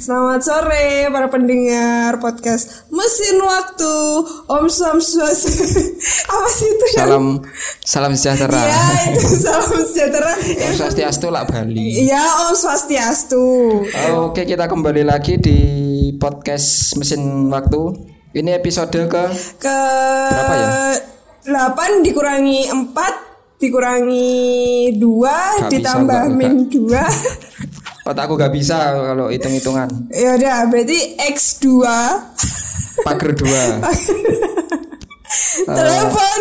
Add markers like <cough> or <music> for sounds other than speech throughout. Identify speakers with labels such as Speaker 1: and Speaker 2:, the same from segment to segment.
Speaker 1: Selamat sore para pendengar podcast Mesin Waktu Om Samswas <laughs> Apa sih itu?
Speaker 2: Salam salam sejahtera.
Speaker 1: Ya itu <laughs> salam sejahtera
Speaker 2: Om Swastiastu lah Bali.
Speaker 1: Ya Om Swastiastu Iya.
Speaker 2: Oke, kita kembali lagi di podcast Mesin Waktu. Ini episode ke
Speaker 1: Ke
Speaker 2: Berapa ya?
Speaker 1: 8 dikurangi 4 dikurangi 2
Speaker 2: Nggak
Speaker 1: ditambah
Speaker 2: bisa,
Speaker 1: min 2
Speaker 2: otakku gak bisa kalau hitung-hitungan.
Speaker 1: <laughs> Ya udah, berarti X2
Speaker 2: Pager 2. Eh.
Speaker 1: telepon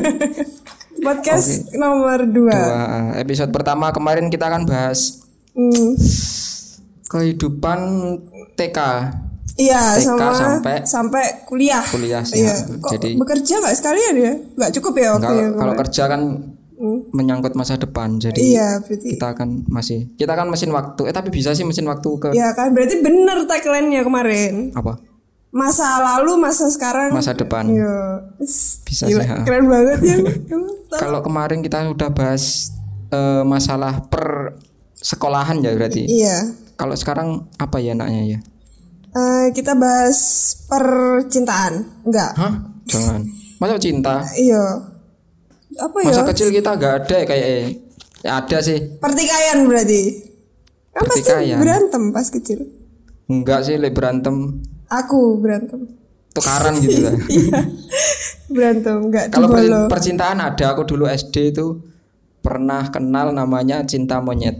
Speaker 1: <laughs> podcast nomor 2.
Speaker 2: Episode pertama kemarin kita akan bahas
Speaker 1: Hmm.
Speaker 2: kehidupan TK
Speaker 1: Iya,
Speaker 2: TK
Speaker 1: sama sampai,
Speaker 2: sampai-
Speaker 1: kuliah.
Speaker 2: kuliah sih.
Speaker 1: Iya.
Speaker 2: ya.
Speaker 1: Kok
Speaker 2: Jadi
Speaker 1: bekerja nggak sekalian ya? Nggak cukup ya waktunya.
Speaker 2: kalau kalau kerja kan menyangkut masa depan. Jadi
Speaker 1: Iya, berarti.
Speaker 2: kita akan masih kita kan mesin waktu. Eh tapi bisa sih mesin waktu ke
Speaker 1: Ya kan, berarti bener tagline-nya kemarin.
Speaker 2: apa?
Speaker 1: Masa lalu, masa sekarang.
Speaker 2: Masa depan.
Speaker 1: Iya.
Speaker 2: Bisa
Speaker 1: Gila,
Speaker 2: sih. ha.
Speaker 1: keren banget ya. <laughs> Emang tau.
Speaker 2: Kalau kemarin kita udah bahas eh, masalah per sekolahan ya berarti.
Speaker 1: iya.
Speaker 2: Kalau sekarang apa ya enaknya ya?
Speaker 1: Eh, kita bahas percintaan. Enggak.
Speaker 2: Hah? Jangan. Masa cinta?
Speaker 1: Iya. Apa ya?
Speaker 2: Masa kecil kita nggak ada ya kayak eh. Ya ada sih.
Speaker 1: Pertikaian berarti. Kan pasti
Speaker 2: Pertikaian.
Speaker 1: berantem pas kecil.
Speaker 2: Enggak sih lek berantem
Speaker 1: Aku berantem.
Speaker 2: tukaran gitu
Speaker 1: <laughs>
Speaker 2: lah.
Speaker 1: Iya, Berantem enggak
Speaker 2: Kalau per-
Speaker 1: dibolo.
Speaker 2: percintaan ada aku dulu SD itu pernah kenal namanya cinta monyet.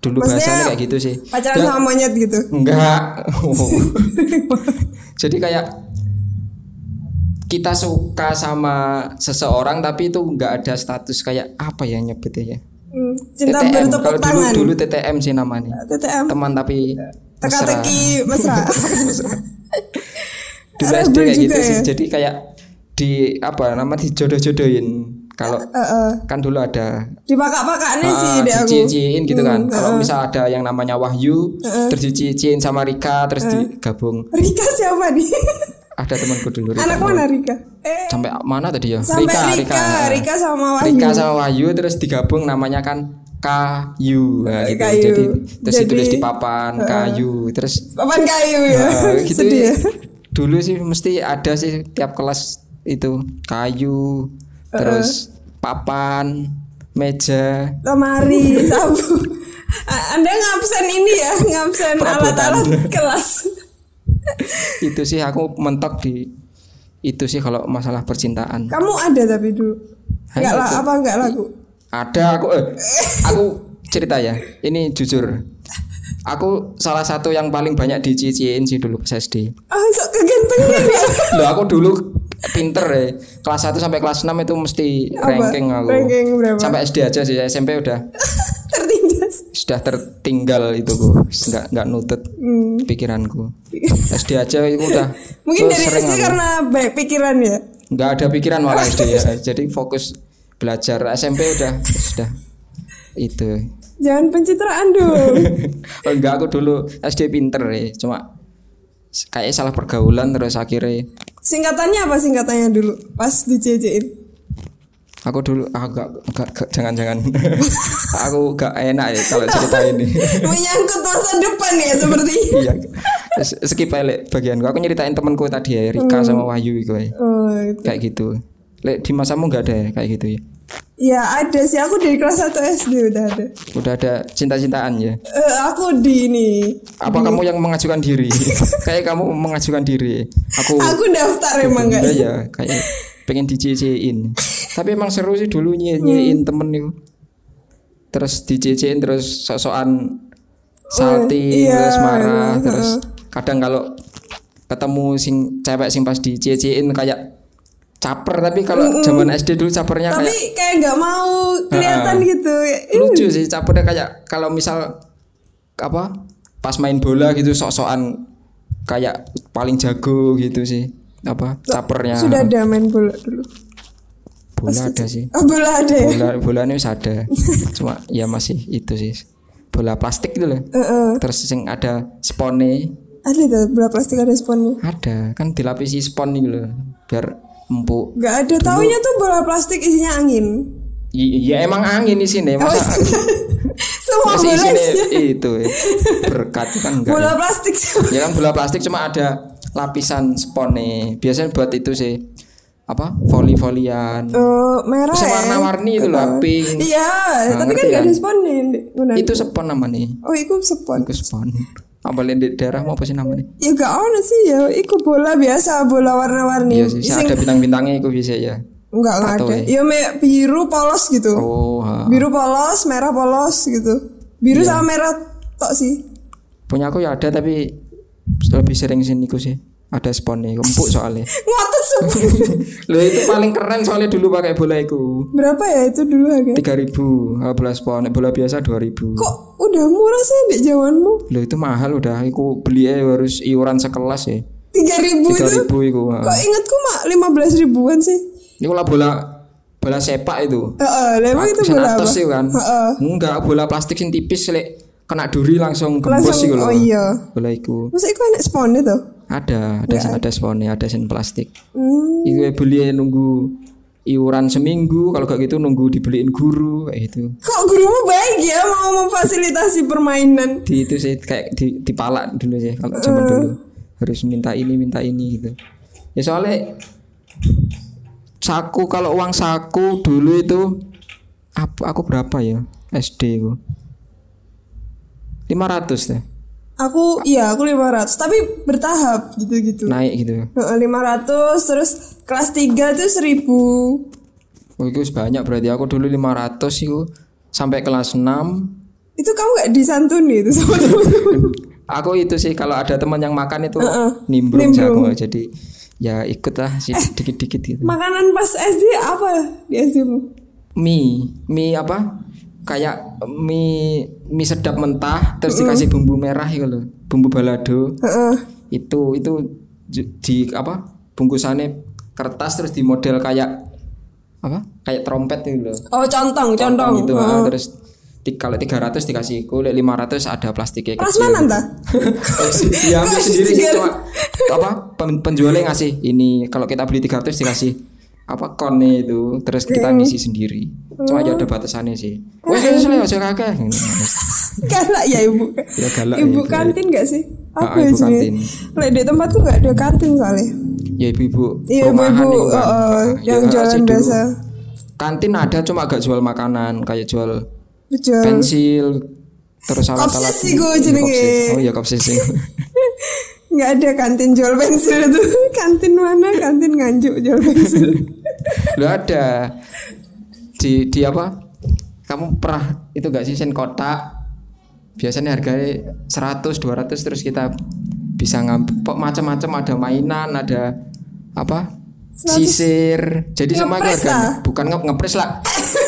Speaker 2: Dulu
Speaker 1: Maksudnya
Speaker 2: bahasanya kayak gitu sih.
Speaker 1: Pacaran
Speaker 2: Ya,
Speaker 1: sama monyet gitu.
Speaker 2: Enggak. <laughs> Jadi kayak kita suka sama seseorang tapi itu enggak ada status kayak apa ya nyebutnya ya.
Speaker 1: Hmm, Cinta
Speaker 2: TTM.
Speaker 1: bertepuk
Speaker 2: Kalau dulu
Speaker 1: tangan.
Speaker 2: dulu TTM sih namanya.
Speaker 1: TTM.
Speaker 2: Teman tapi mesra.
Speaker 1: Teka-teki
Speaker 2: <laughs>
Speaker 1: mesra.
Speaker 2: Dulu
Speaker 1: Rebel
Speaker 2: SD kayak gitu
Speaker 1: juga
Speaker 2: sih.
Speaker 1: ya.
Speaker 2: Jadi kayak di apa nama dijodoh-jodohin. Kalau
Speaker 1: Heeh.
Speaker 2: kan dulu ada
Speaker 1: Di pakak-pakaknya eh, Iya sih
Speaker 2: Ah,
Speaker 1: ide aku. Mm, eh,
Speaker 2: dicicin gitu kan. Kalau misal ada yang namanya Wahyu terus dicicin sama Rika terus
Speaker 1: Eh.
Speaker 2: digabung.
Speaker 1: Rika siapa nih?
Speaker 2: Ada temanku dulu
Speaker 1: <laughs>
Speaker 2: Rika.
Speaker 1: Anak mana Rika? Eh,
Speaker 2: sampai mana tadi ya?
Speaker 1: sampai Rika, Rika, sama Wahyu.
Speaker 2: Rika sama Wahyu terus digabung namanya kan Kayu. Nah, gitu.
Speaker 1: Kayu.
Speaker 2: Jadi terus
Speaker 1: Jadi-
Speaker 2: ditulis di papan Kayu.
Speaker 1: <laughs>
Speaker 2: Terus
Speaker 1: Papan kayu ya.
Speaker 2: eh,
Speaker 1: <laughs>
Speaker 2: gitu.
Speaker 1: Sedih ya.
Speaker 2: Dulu sih mesti ada sih tiap kelas itu Kayu. Terus papan, meja,
Speaker 1: Lemari, sabu. A- Anda ngabsen ini ya, ngabsen alat-alat kelas.
Speaker 2: itu sih aku mentok di itu sih kalau masalah percintaan
Speaker 1: Kamu ada tapi dulu.
Speaker 2: Hanya
Speaker 1: Enggak lah, apa enggak lagu?
Speaker 2: ada aku eh, aku cerita ya ini jujur aku salah satu yang paling banyak diciciin sih dulu pas SD
Speaker 1: Ah, sok kegentengan ya.
Speaker 2: loh aku dulu pinter ya kelas 1 sampai kelas 6 itu mesti
Speaker 1: Apa?
Speaker 2: ranking aku
Speaker 1: Ranking berapa?
Speaker 2: sampai SD aja sih SMP udah
Speaker 1: <laughs> Tertindas.
Speaker 2: sudah tertinggal itu ku nggak nggak nutut pikiranku SD aja itu udah
Speaker 1: Hmm. <laughs> Mungkin
Speaker 2: tuh
Speaker 1: dari
Speaker 2: sering
Speaker 1: SD
Speaker 2: aku.
Speaker 1: karena baik pikiran ya.
Speaker 2: nggak ada pikiran malah SD ya jadi fokus belajar SMP udah sudah itu
Speaker 1: Jangan pencitraan dong.
Speaker 2: oh, enggak aku dulu SD pinter ya cuma s- kayak salah pergaulan terus akhirnya
Speaker 1: Singkatannya apa singkatannya dulu? Pas dijejein.
Speaker 2: aku dulu ah, enggak, enggak, enggak, jangan jangan aku enggak enak ya kalau cerita ini
Speaker 1: Menyangkut masa depan ya sepertinya.
Speaker 2: iya S- skip aja Lek, bagian gua aku nyeritain temanku tadi ya Rika sama Wahyu itu ya.
Speaker 1: Oh, gitu.
Speaker 2: kayak gitu Lek, di masamu enggak ada ya kayak gitu ya
Speaker 1: Ya ada sih aku dari kelas 1 SD udah ada.
Speaker 2: udah ada cinta-cintaan ya
Speaker 1: Eh, aku di ini.
Speaker 2: apa kamu yang mengajukan diri kayak kamu mengajukan diri eh. aku
Speaker 1: Aku daftar emang
Speaker 2: enggak
Speaker 1: guys.
Speaker 2: ya kayak pengen dicecein tapi emang seru sih dulu nyenyein
Speaker 1: Hmm.
Speaker 2: temen itu terus dicecein terus sosokan salting
Speaker 1: iya,
Speaker 2: terus
Speaker 1: emang,
Speaker 2: marah terus kadang kalau ketemu sing cewek sing pas dicecein kayak caper tapi kalau zaman SD dulu capernya kayak
Speaker 1: Tapi kayak nggak mau kelihatan gitu. Ih,
Speaker 2: lucu sih capernya kayak kalau misal apa pas main bola gitu sok-sokan kayak paling jago gitu sih apa capernya
Speaker 1: Sudah ada main bola dulu.
Speaker 2: bola ada sih
Speaker 1: Oh, bola ada ya.
Speaker 2: bola bola ini wis ada cuma ya masih itu sih bola plastik itu loh
Speaker 1: Heeh.
Speaker 2: terus sing ada spone
Speaker 1: Ada tuh bola plastik ada sponnya.
Speaker 2: ada kan dilapisi spon gitu loh biar empuk
Speaker 1: Nggak ada taunya tuh bola plastik isinya angin.
Speaker 2: Y- ya emang angin di sini
Speaker 1: Oh,
Speaker 2: masa
Speaker 1: itu- <laughs> semua
Speaker 2: <laughs> Terus
Speaker 1: bola
Speaker 2: isinya itu ya. berkat kan enggak.
Speaker 1: bola
Speaker 2: ya.
Speaker 1: plastik
Speaker 2: Ya kan bola plastik cuma ada lapisan spon nih. Biasanya buat itu sih apa voli volian.
Speaker 1: Eh, merah
Speaker 2: Terus
Speaker 1: ya
Speaker 2: warna-warni itu loh,
Speaker 1: Ketahuan.
Speaker 2: pink.
Speaker 1: iya
Speaker 2: Nah,
Speaker 1: tapi kan
Speaker 2: ngerti
Speaker 1: nggak
Speaker 2: kan?
Speaker 1: ada sponnya benar
Speaker 2: Itu spon namanya.
Speaker 1: oh iku spon
Speaker 2: Itu spon. Apa di daerah mau apa sih namanya?
Speaker 1: ya gak ono sih ya iku bola biasa bola warna-warni
Speaker 2: Iya sih, sing
Speaker 1: Sing-
Speaker 2: ada bintang-bintangnya itu biasa ya.
Speaker 1: Enggak lah
Speaker 2: Tato
Speaker 1: ada. Ya
Speaker 2: ya?
Speaker 1: me- biru polos gitu.
Speaker 2: Oh, ha.
Speaker 1: Biru polos, merah polos gitu. Biru
Speaker 2: Iya.
Speaker 1: sama merah tok sih. <laughs>
Speaker 2: punya aku ya ada tapi lebih sering siniku sih. Ada sponnya, iku, empuk
Speaker 1: <laughs>
Speaker 2: soalnya.
Speaker 1: Ngotot semua.
Speaker 2: Loh itu paling keren soalnya dulu pakai bola itu.
Speaker 1: Berapa ya itu dulu harga?
Speaker 2: 3000 kalau bola spon, nek bola biasa 2000.
Speaker 1: Kok udah murah sih di jamanmu?
Speaker 2: Loh itu mahal udah, iku beli aja harus iuran sekelas ya.
Speaker 1: 3000 itu.
Speaker 2: 3000 iku. ha.
Speaker 1: Kok ingetku mak 15 ribuan sih.
Speaker 2: Iku lah bola bola sepak itu.
Speaker 1: Heeh, lah emang itu
Speaker 2: Sen
Speaker 1: bola apa?
Speaker 2: atas sih kan.
Speaker 1: Heeh.
Speaker 2: Enggak, bola plastik sing tipis lek kena duri langsung gembos
Speaker 1: Langsung
Speaker 2: iku lho.
Speaker 1: oh iya.
Speaker 2: Bola iku.
Speaker 1: Masa iku enak sponnya tuh?
Speaker 2: Ada, ada ada sponnya, ada sen plastik.
Speaker 1: Hmm.
Speaker 2: Iku ya beli aja nunggu iuran seminggu, kalau gak gitu nunggu dibeliin guru kayak gitu.
Speaker 1: Kok gurumu baik ya mau memfasilitasi permainan?
Speaker 2: di itu sih kayak di dipalak dulu sih kalau zaman dulu harus minta ini minta ini gitu ya soalnya saku kalau uang saku dulu itu apa aku berapa ya SD itu 500 deh
Speaker 1: Aku iya aku 500 tapi bertahap gitu-gitu.
Speaker 2: naik gitu
Speaker 1: Heeh, 500 terus kelas 3 tuh 1000.
Speaker 2: oh itu banyak berarti aku dulu 500 itu sampai kelas 6
Speaker 1: Itu kamu gak disantuni itu sama temen-temen.
Speaker 2: <laughs> aku itu sih kalau ada teman yang makan itu
Speaker 1: Heeh,
Speaker 2: nimbrung, sih
Speaker 1: nimbrung.
Speaker 2: aku. jadi ya ikutlah sedikit dikit gitu
Speaker 1: Makanan pas SD apa di SD-mu?
Speaker 2: mie mie apa kayak mie mie sedap mentah terus dikasih bumbu merah itu loh bumbu balado
Speaker 1: Heeh.
Speaker 2: itu itu ju- di apa bungkusannya kertas terus di model kayak apa kayak trompet itu loh
Speaker 1: Oh, contong, contong.
Speaker 2: Gitu,
Speaker 1: Heeh.
Speaker 2: ah. terus di, kalau 300 dikasih kulit 500 ada plastiknya kecil
Speaker 1: Prasmanan
Speaker 2: <laughs>
Speaker 1: ta?
Speaker 2: ya
Speaker 1: Kok
Speaker 2: ambil sendiri sih
Speaker 1: sendiri?
Speaker 2: cuma apa pen- penjualnya ngasih ini kalau kita beli 300 dikasih apa konnya itu terus kita
Speaker 1: Hmm.
Speaker 2: ngisi sendiri cuma aja ada batasannya sih wes wes wes aja kakek
Speaker 1: Galak ya ibu.
Speaker 2: Ya, galak ya,
Speaker 1: ibu
Speaker 2: ibu.
Speaker 1: kantin gak sih? Apa
Speaker 2: Ah,
Speaker 1: ya
Speaker 2: ibu
Speaker 1: sih?
Speaker 2: kantin.
Speaker 1: Lek di tempatku gak ada kantin soalnya.
Speaker 2: ya ibu-ibu
Speaker 1: Iya,
Speaker 2: rumahan
Speaker 1: ibu-ibu,
Speaker 2: itu kan.
Speaker 1: heeh,
Speaker 2: Ya,
Speaker 1: yang
Speaker 2: harusnya
Speaker 1: jualan
Speaker 2: dulu.
Speaker 1: biasa.
Speaker 2: kantin ada cuma agak jual makanan kayak jual
Speaker 1: Hmm.
Speaker 2: Kan
Speaker 1: Betul.
Speaker 2: pensil terus alat-alat
Speaker 1: Kopsis iku
Speaker 2: Iya,
Speaker 1: jenenge.
Speaker 2: kopsis. oh iya kopsis sih
Speaker 1: Gak ada kantin jual pensil itu. <laughs> kantin mana? Kantin nganjuk jual
Speaker 2: <laughs>
Speaker 1: pensil.
Speaker 2: lu ada di di apa kamu pernah itu gak sih sen kotak biasanya harganya 100 200 terus kita bisa ngampok macam-macam ada mainan ada apa sisir jadi semua itu
Speaker 1: Ngepres
Speaker 2: harga
Speaker 1: lah.
Speaker 2: bukan nge ngepres lah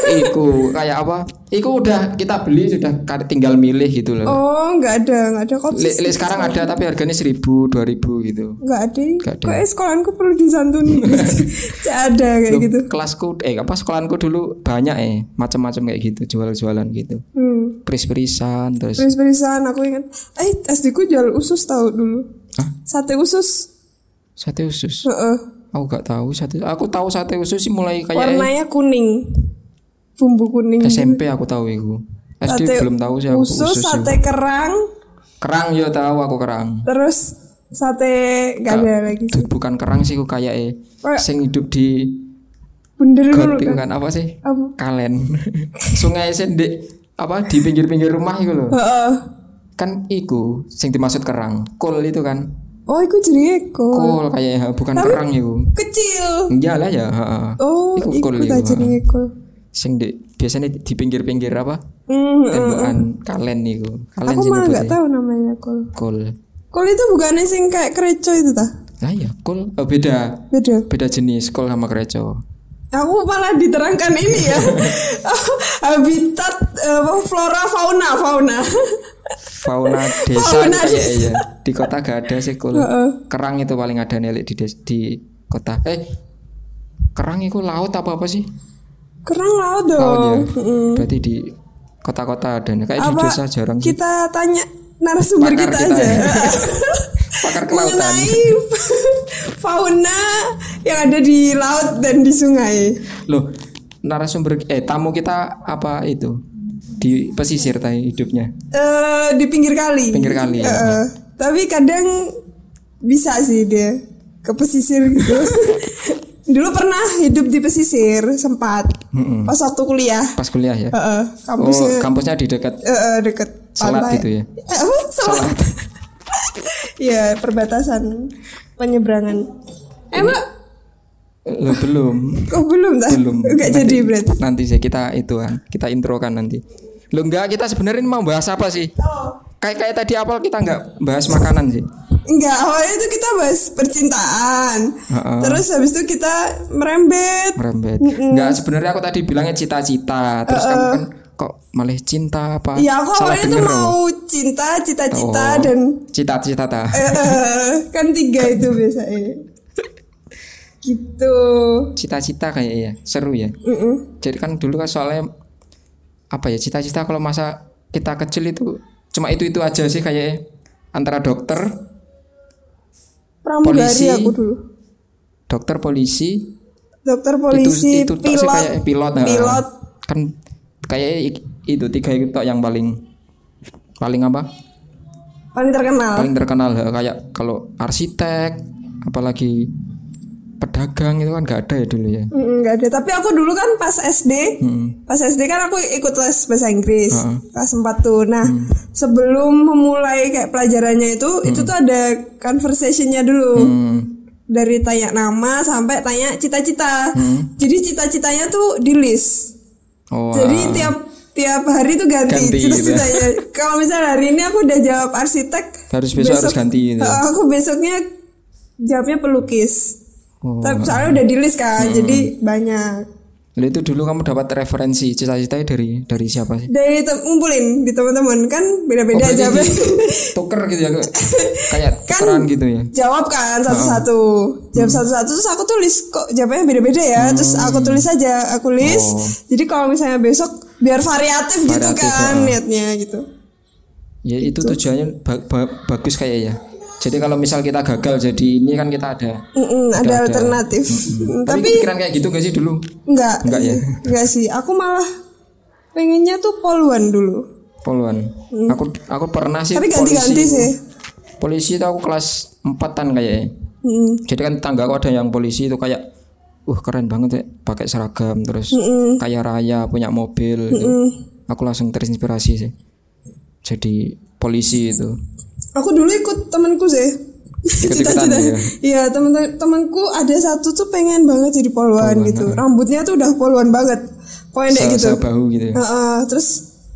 Speaker 2: iku kayak apa iku udah kita beli sudah ka- tinggal milih gitu loh
Speaker 1: oh, gak ada, gak ada kopi.
Speaker 2: Le, le sekarang ada tapi harganya 1000 2000 gitu
Speaker 1: Enggak ada.
Speaker 2: Nggak ada.
Speaker 1: Kok eh, sekolahanku perlu
Speaker 2: <laughs>
Speaker 1: disantuni? Cak ada kayak gitu.
Speaker 2: kelasku eh apa sekolahku dulu banyak eh macam-macam kayak gitu jual-jualan gitu
Speaker 1: Hmm.
Speaker 2: pris-prisan terus
Speaker 1: Beris-berisan aku ingat. Eh, SD ku jual usus tahu dulu.
Speaker 2: Hah?
Speaker 1: Sate usus.
Speaker 2: sate usus
Speaker 1: Heeh.
Speaker 2: aku gak tahu sate aku tahu sate usus sih mulai kayak
Speaker 1: Warnanya kuning. Bumbu kuning.
Speaker 2: SMP aku tahu itu SD
Speaker 1: Sate
Speaker 2: Eh, belum tahu sih aku
Speaker 1: usus,
Speaker 2: usus, itu.
Speaker 1: sate kerang,
Speaker 2: kerang ya tahu aku kerang
Speaker 1: terus sate gak ada lagi.
Speaker 2: Du- bukan kerang sih aku kayak eh
Speaker 1: Kayak-
Speaker 2: sing hidup di
Speaker 1: Bener dulu
Speaker 2: got itu
Speaker 1: kan.
Speaker 2: kan apa sih
Speaker 1: Apa?
Speaker 2: kalen <laughs> sungai sendek apa di pinggir-pinggir rumah itu loh
Speaker 1: Heeh.
Speaker 2: kan iku sing dimaksud kerang kol itu kan
Speaker 1: Oh, iku jadi eko.
Speaker 2: kol kayak bukan kerang itu
Speaker 1: Kecil.
Speaker 2: iyalah ya ha, ha.
Speaker 1: Oh,
Speaker 2: Iku
Speaker 1: iku
Speaker 2: kol
Speaker 1: tak
Speaker 2: iku,
Speaker 1: jadi eko.
Speaker 2: sing di, biasanya di pinggir-pinggir apa
Speaker 1: Hmm.
Speaker 2: tembakan kalen niku kalen
Speaker 1: Aku
Speaker 2: sing ya?
Speaker 1: malah
Speaker 2: nyebutnya.
Speaker 1: gak tahu namanya kol.
Speaker 2: kol
Speaker 1: Kol itu bukannya sing kayak kreco itu tah?
Speaker 2: lah ya kol oh, beda
Speaker 1: Beda.
Speaker 2: beda jenis kol sama kreco
Speaker 1: Aku malah diterangkan ini
Speaker 2: <laughs>
Speaker 1: ya <laughs> habitat eh, apa, flora fauna fauna. <laughs>
Speaker 2: fauna desa
Speaker 1: Fauna
Speaker 2: itu kayak
Speaker 1: desa.
Speaker 2: iya. di kota gak ada sih kol kerang itu paling ada nelik di des- di kota eh kerang itu laut apa apa sih
Speaker 1: Kerang laut dong.
Speaker 2: laut ya berarti di kota-kota ada kayak di
Speaker 1: Oh, Apa
Speaker 2: desa jarang sih.
Speaker 1: kita tanya narasumber
Speaker 2: Pakar
Speaker 1: kita,
Speaker 2: kita
Speaker 1: aja <laughs>
Speaker 2: ya. pakar kelautan
Speaker 1: mengenai <laughs> fauna yang ada di laut dan di sungai.
Speaker 2: Loh, narasumber eh tamu kita apa itu? Di di pesisir tadi hidupnya
Speaker 1: eh di pinggir kali.
Speaker 2: Pinggir kali, ya.
Speaker 1: Eh, tapi kadang bisa sih dia ke pesisir gitu. <laughs> Dulu pernah hidup di pesisir sempat pas waktu kuliah.
Speaker 2: pas kuliah ya
Speaker 1: Eh, eh,
Speaker 2: oh
Speaker 1: kampusnya
Speaker 2: kampusnya di dekat
Speaker 1: eh, eh, deket
Speaker 2: Selat
Speaker 1: pantai.
Speaker 2: gitu ya?
Speaker 1: Eh, apa? Selat. <laughs> Iya perbatasan penyeberangan. Emang
Speaker 2: Eh, belum
Speaker 1: kok belum tak? <laughs>
Speaker 2: belum
Speaker 1: Enggak
Speaker 2: Nanti-
Speaker 1: jadi berarti.
Speaker 2: nanti sih kita itu kan kita intro kan nanti lo enggak kita sebenarnya ini mau bahas apa sih
Speaker 1: Oh,
Speaker 2: kayak kayak tadi awal kita nggak bahas makanan sih
Speaker 1: Enggak, awalnya itu kita bahas percintaan.
Speaker 2: Heeh.
Speaker 1: Terus habis itu kita merembet.
Speaker 2: merembet enggak sebenarnya aku tadi bilangnya cita-cita terus kamu kan kok malah cinta apa
Speaker 1: Iya, aku
Speaker 2: salah
Speaker 1: awalnya tuh
Speaker 2: denger loh.
Speaker 1: mau cinta, cita-cita
Speaker 2: Oh,
Speaker 1: dan
Speaker 2: cita-cita ta
Speaker 1: eh, eh, kan tiga itu biasanya. gitu.
Speaker 2: cita-cita kayaknya ya seru ya
Speaker 1: Mm-mm.
Speaker 2: jadi kan dulu kan soalnya apa ya cita-cita kalau masa kita kecil itu cuma itu itu aja sih kayaknya antara dokter
Speaker 1: Pramugari
Speaker 2: Polisi.
Speaker 1: aku dulu.
Speaker 2: dokter polisi
Speaker 1: Dokter
Speaker 2: itu
Speaker 1: polisi,
Speaker 2: itu tok sih
Speaker 1: pilot,
Speaker 2: kayak pilot nah.
Speaker 1: pilot.
Speaker 2: kan kayak i- itu tiga itu tok yang paling paling apa
Speaker 1: paling terkenal.
Speaker 2: paling terkenal ha. kayak kalau arsitek apalagi pedagang itu kan nggak ada ya dulu ya
Speaker 1: Mm, Enggak ada, tapi aku dulu kan pas SD,
Speaker 2: Mm.
Speaker 1: pas SD kan aku ikut les bahasa Inggris, kelas 4 tuh. Nah,
Speaker 2: Mm.
Speaker 1: sebelum memulai kayak pelajarannya itu, itu tuh ada conversationnya dulu.
Speaker 2: Hmm,
Speaker 1: Dari tanya nama sampai tanya cita-cita.
Speaker 2: Mm.
Speaker 1: Jadi cita-citanya tuh di list.
Speaker 2: oh
Speaker 1: Jadi
Speaker 2: ah.
Speaker 1: tiap tiap hari tuh ganti,
Speaker 2: Ganti, gitu ya?
Speaker 1: cita-citanya. Kalau misalnya hari ini aku udah jawab arsitek,
Speaker 2: Harus besok harus ganti gitu ya.
Speaker 1: Eh, Aku besoknya jawabnya pelukis.
Speaker 2: Oh.
Speaker 1: Tapi soalnya udah di list kan, jadi banyak.
Speaker 2: Lah itu dulu kamu dapat referensi cita-citanya dari dari siapa sih?
Speaker 1: dari tem- ngumpulin di teman-teman kan beda-beda
Speaker 2: Oh, berarti
Speaker 1: jawabnya
Speaker 2: di- <laughs> tuker gitu ya kayak- kayak
Speaker 1: Kan-
Speaker 2: tukeran gitu ya.
Speaker 1: <laughs> jawab kan satu-satu jawab satu-satu terus aku tulis kok jawabnya beda-beda ya terus aku tulis aja aku list
Speaker 2: Hmm. Oh.
Speaker 1: jadi kalau misalnya besok biar variatif, gitu
Speaker 2: Variatif,
Speaker 1: kan
Speaker 2: ah.
Speaker 1: niatnya gitu
Speaker 2: Ya itu tujuannya ba- ba- bagus kayak ya. Jadi kalau misal kita gagal jadi ini kan kita ada.
Speaker 1: Mm-mm, ada,
Speaker 2: Ada-ada.
Speaker 1: alternatif
Speaker 2: Tapi,
Speaker 1: tapi
Speaker 2: pikiran kayak gitu gak sih dulu?
Speaker 1: enggak
Speaker 2: Enggak ya?
Speaker 1: enggak sih aku malah pengennya tuh poluan dulu
Speaker 2: Poluan. Aku aku pernah sih
Speaker 1: Hmm. tapi
Speaker 2: polisi.
Speaker 1: ganti-ganti sih
Speaker 2: Polisi itu aku kelas empatan kayaknya.
Speaker 1: Mm-mm.
Speaker 2: Jadi kan tangga aku ada yang polisi itu kayak Wah keren banget ya pakai seragam terus kaya raya punya mobil gitu. Aku langsung terinspirasi sih. Jadi polisi itu.
Speaker 1: Aku dulu ikut temanku sih. <laughs>
Speaker 2: Ikut-ikutan
Speaker 1: Cita-cita.
Speaker 2: ya?
Speaker 1: <laughs> Iya, temen temanku ada satu tuh pengen banget jadi poluan gitu. Rambutnya tuh udah poluan banget. Pendek
Speaker 2: Sa-
Speaker 1: gitu.
Speaker 2: sa- bahu gitu. ya.
Speaker 1: Heeh, terus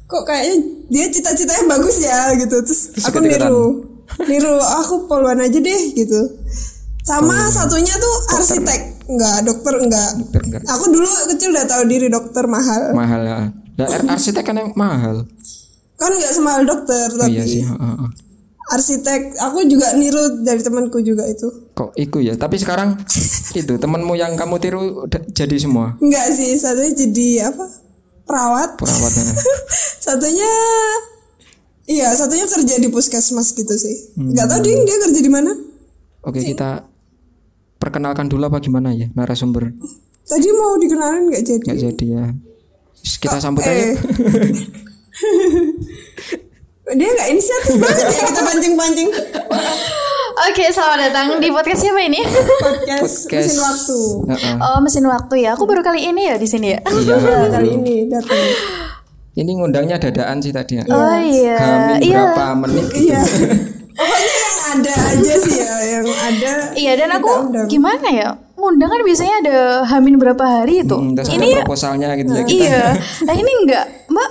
Speaker 1: kok kayaknya dia cita-citanya bagus ya gitu. Terus aku
Speaker 2: ikut-ikutan.
Speaker 1: niru. Niru aku poluan aja deh gitu. Sama satunya tuh arsitek. Enggak, dokter enggak.
Speaker 2: Dokter enggak.
Speaker 1: Aku dulu kecil udah tahu diri dokter mahal.
Speaker 2: mahal ya. Lah ar- arsitek kan yang mahal.
Speaker 1: Kan enggak semahal dokter tapi
Speaker 2: Iya sih. ha, ha, ha.
Speaker 1: arsitek aku juga niru dari temanku juga itu.
Speaker 2: Kok iku ya? Tapi
Speaker 3: <laughs>
Speaker 2: sekarang itu temanmu yang kamu tiru udah jadi semua
Speaker 1: Enggak sih, satunya jadi apa? Perawat.
Speaker 2: perawat. ha.
Speaker 1: satunya Iya, satunya kerja di puskesmas gitu sih. Enggak tahu ding dia kerja di mana.
Speaker 2: Oke kita perkenalkan dulu apa gimana ya narasumber
Speaker 1: Tadi mau dikenalin enggak jadi.
Speaker 2: nggak jadi ya. Terus Kita
Speaker 3: Oh,
Speaker 2: sambut
Speaker 1: Eh.
Speaker 2: aja.
Speaker 1: dia enggak inisiatif banget ya kita pancing-pancing
Speaker 3: Oke, selamat datang di podcast siapa
Speaker 2: <laughs>
Speaker 3: ini?
Speaker 1: podcast,
Speaker 2: Podcast.
Speaker 1: mesin waktu.
Speaker 2: Ha, ha.
Speaker 3: Oh, mesin waktu ya. Aku baru kali ini ya di sini ya.
Speaker 2: Iya.
Speaker 1: Nah, kali ini datang.
Speaker 2: Ini ngundangnya dadaan sih tadi ya.
Speaker 3: Oh iya.
Speaker 2: Hamin
Speaker 3: Iya.
Speaker 2: berapa menit? gitu
Speaker 1: iya. Pokoknya yang ada aja sih ya, yang ada.
Speaker 3: Iya, dan aku
Speaker 1: Kita undang.
Speaker 3: gimana ya? Ngundang kan biasanya ada hamin berapa hari itu.
Speaker 2: Hmm, terus ada
Speaker 3: ini
Speaker 2: proposalnya gitu ya. Kita.
Speaker 3: iya. Nah, ini enggak,
Speaker 2: <laughs>
Speaker 3: Mbak.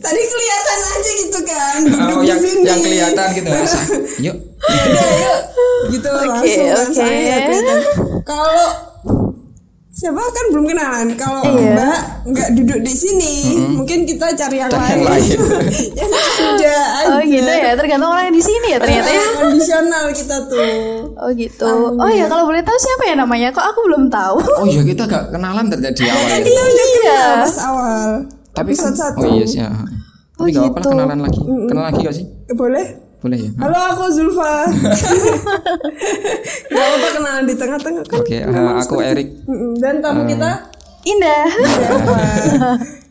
Speaker 1: Tadi kelihatan aja gitu kan. duduk
Speaker 2: Oh,
Speaker 1: di
Speaker 2: yang
Speaker 1: sini.
Speaker 2: yang kelihatan gitu.
Speaker 3: <laughs>
Speaker 2: Yuk.
Speaker 1: gitu langsung kan
Speaker 3: oke.
Speaker 1: soalnya ya kelihatan. kalau siapa kan belum kenalan kalau
Speaker 3: Iya.
Speaker 1: mbak nggak duduk di sini mungkin kita cari yang
Speaker 2: Cari yang
Speaker 1: lain
Speaker 2: lain.
Speaker 1: <laughs> yang sudah
Speaker 3: oh,
Speaker 1: ada
Speaker 3: gitu ya. Tergantung orang yang di sini ya ternyata ya.
Speaker 1: kondisional kita tuh
Speaker 3: Oh gitu. Oh iya, kalau boleh tahu siapa ya namanya? Kok aku belum tahu? Gitu
Speaker 2: Oh iya kita gak kenalan terjadi awal. ya.
Speaker 1: kita
Speaker 3: Oh,
Speaker 1: udah
Speaker 3: iya.
Speaker 1: kenal pas awal
Speaker 2: Tapi kan-
Speaker 1: episode satu
Speaker 2: Oh iya sih. ya.
Speaker 3: Oh
Speaker 2: Tapi gak apa-apa lah,
Speaker 3: gitu.
Speaker 2: kenalan lagi. Kenal lagi gak sih?
Speaker 1: boleh
Speaker 2: Boleh ya.
Speaker 1: halo aku
Speaker 2: <laughs>
Speaker 1: Zulfa nggak apa kenalan di tengah-tengah kan
Speaker 2: Oke, ah, aku Erik.
Speaker 1: Mm-mm. dan tamu kita
Speaker 3: Indah.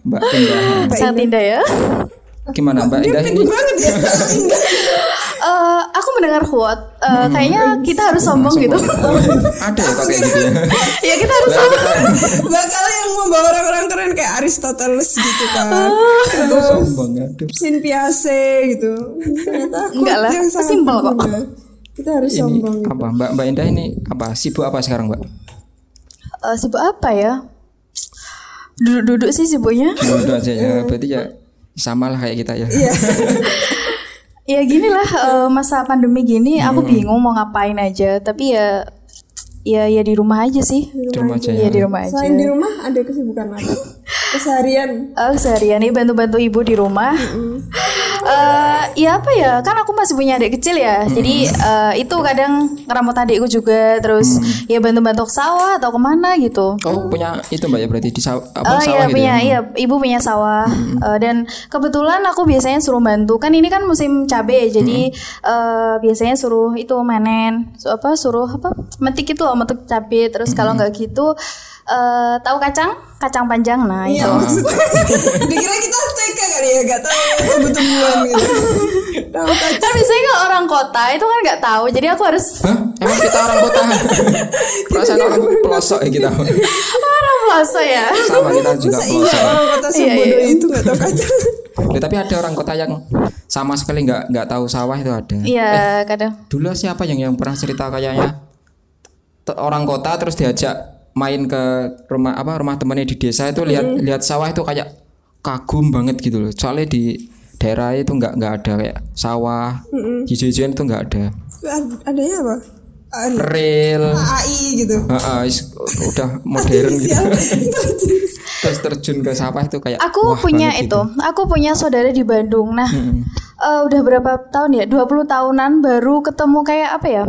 Speaker 2: Mbak Indah.
Speaker 3: Sangat indah ya.
Speaker 2: Gimana Mbak
Speaker 1: Dia
Speaker 2: Indah ini?
Speaker 1: penting banget ya.
Speaker 2: <laughs>
Speaker 1: Enggak.
Speaker 3: Eh, aku mendengar quote. Eh,
Speaker 2: Hmm.
Speaker 3: kayaknya kita harus sombong gitu.
Speaker 2: Ada ya kok kayak gitu ya.
Speaker 3: <laughs> ya kita harus sombong.
Speaker 1: Bakal yang membawa orang-orang keren kayak Aristoteles gitu kan.
Speaker 3: Ah.
Speaker 2: Sombong ya? aduh.
Speaker 1: Sin Piase gitu. Ternyata aku
Speaker 3: Enggak lah,
Speaker 1: yang sangat
Speaker 3: simple kok.
Speaker 1: mudah. Kita harus
Speaker 2: Ini
Speaker 1: sombong.
Speaker 3: gitu.
Speaker 2: apa Mbak Mbak Indah ini apa sibuk apa sekarang Mbak?
Speaker 3: Eh, sibuk apa ya? Duduk-duduk sih sibuknya.
Speaker 2: Duduk aja ya.
Speaker 3: Eh.
Speaker 2: Berarti ya sama lah kayak kita ya.
Speaker 3: Iya, Ya gini lah eh, masa pandemi gini aku bingung mau ngapain aja tapi ya ya ya di rumah aja
Speaker 2: <laughs>
Speaker 3: sih
Speaker 2: Di rumah aja ya.
Speaker 3: ya di rumah aja
Speaker 1: Selain di rumah ada kesibukan apa?
Speaker 3: <laughs>
Speaker 1: Keseharian.
Speaker 3: Eh, seharian ini bantu-bantu ibu di rumah Eh, ya apa ya kan aku masih punya adik kecil ya jadi eh, itu kadang ngeramut adikku juga terus ya bantu-bantu ke sawah atau kemana gitu
Speaker 2: Oh punya itu Mbak ya berarti di saw- apa,
Speaker 3: Oh
Speaker 2: sawah
Speaker 3: iya
Speaker 2: gitu
Speaker 3: punya
Speaker 2: ya?
Speaker 3: iya ibu punya sawah Eh, dan kebetulan aku biasanya suruh bantu kan ini kan musim cabe jadi eh, biasanya suruh itu menen su- apa suruh apa metik itu loh metik cabe terus kalau nggak gitu eh, tahu kacang kacang panjang nah
Speaker 1: Iya
Speaker 3: itu
Speaker 2: <laughs>
Speaker 1: maksudnya Dikira kita TK kali ya Gak tahu kebetulan gitu Tahu kan
Speaker 3: kan biasanya kalau orang kota itu kan nggak tahu jadi aku harus
Speaker 2: Hah? Emang kita orang
Speaker 3: <laughs>
Speaker 2: kota? Perasaan orang pelosok ya kita.
Speaker 3: orang pelosok ya
Speaker 2: Sama kita juga
Speaker 1: Masa iya
Speaker 2: pelosok.
Speaker 1: orang kota
Speaker 3: Iya,
Speaker 1: sebodoh
Speaker 3: iya.
Speaker 1: itu Gak tahu kan? <laughs> kacang
Speaker 2: Ya, tapi ada orang kota yang sama sekali nggak nggak tahu sawah itu ada.
Speaker 3: iya kadang
Speaker 2: Dulu siapa yang yang pernah cerita kayaknya te- orang kota terus diajak main ke rumah apa rumah temannya di desa itu lihat lihat sawah itu kayak kagum banget gitu loh. Soalnya di daerah itu nggak nggak ada kayak sawah hijau-hijauan itu nggak ada.
Speaker 1: Ad- Adanya ya apa? An-
Speaker 2: Rel
Speaker 1: AI
Speaker 3: <laughs>
Speaker 1: gitu
Speaker 2: Heeh, is- udah modern gitu.
Speaker 1: Siapa? Intelligence.
Speaker 2: terus terjun ke sawah itu kayak wah,
Speaker 3: aku punya
Speaker 2: banget
Speaker 3: itu aku punya saudara di Bandung nah eh, udah berapa tahun ya 20 tahunan baru ketemu kayak apa ya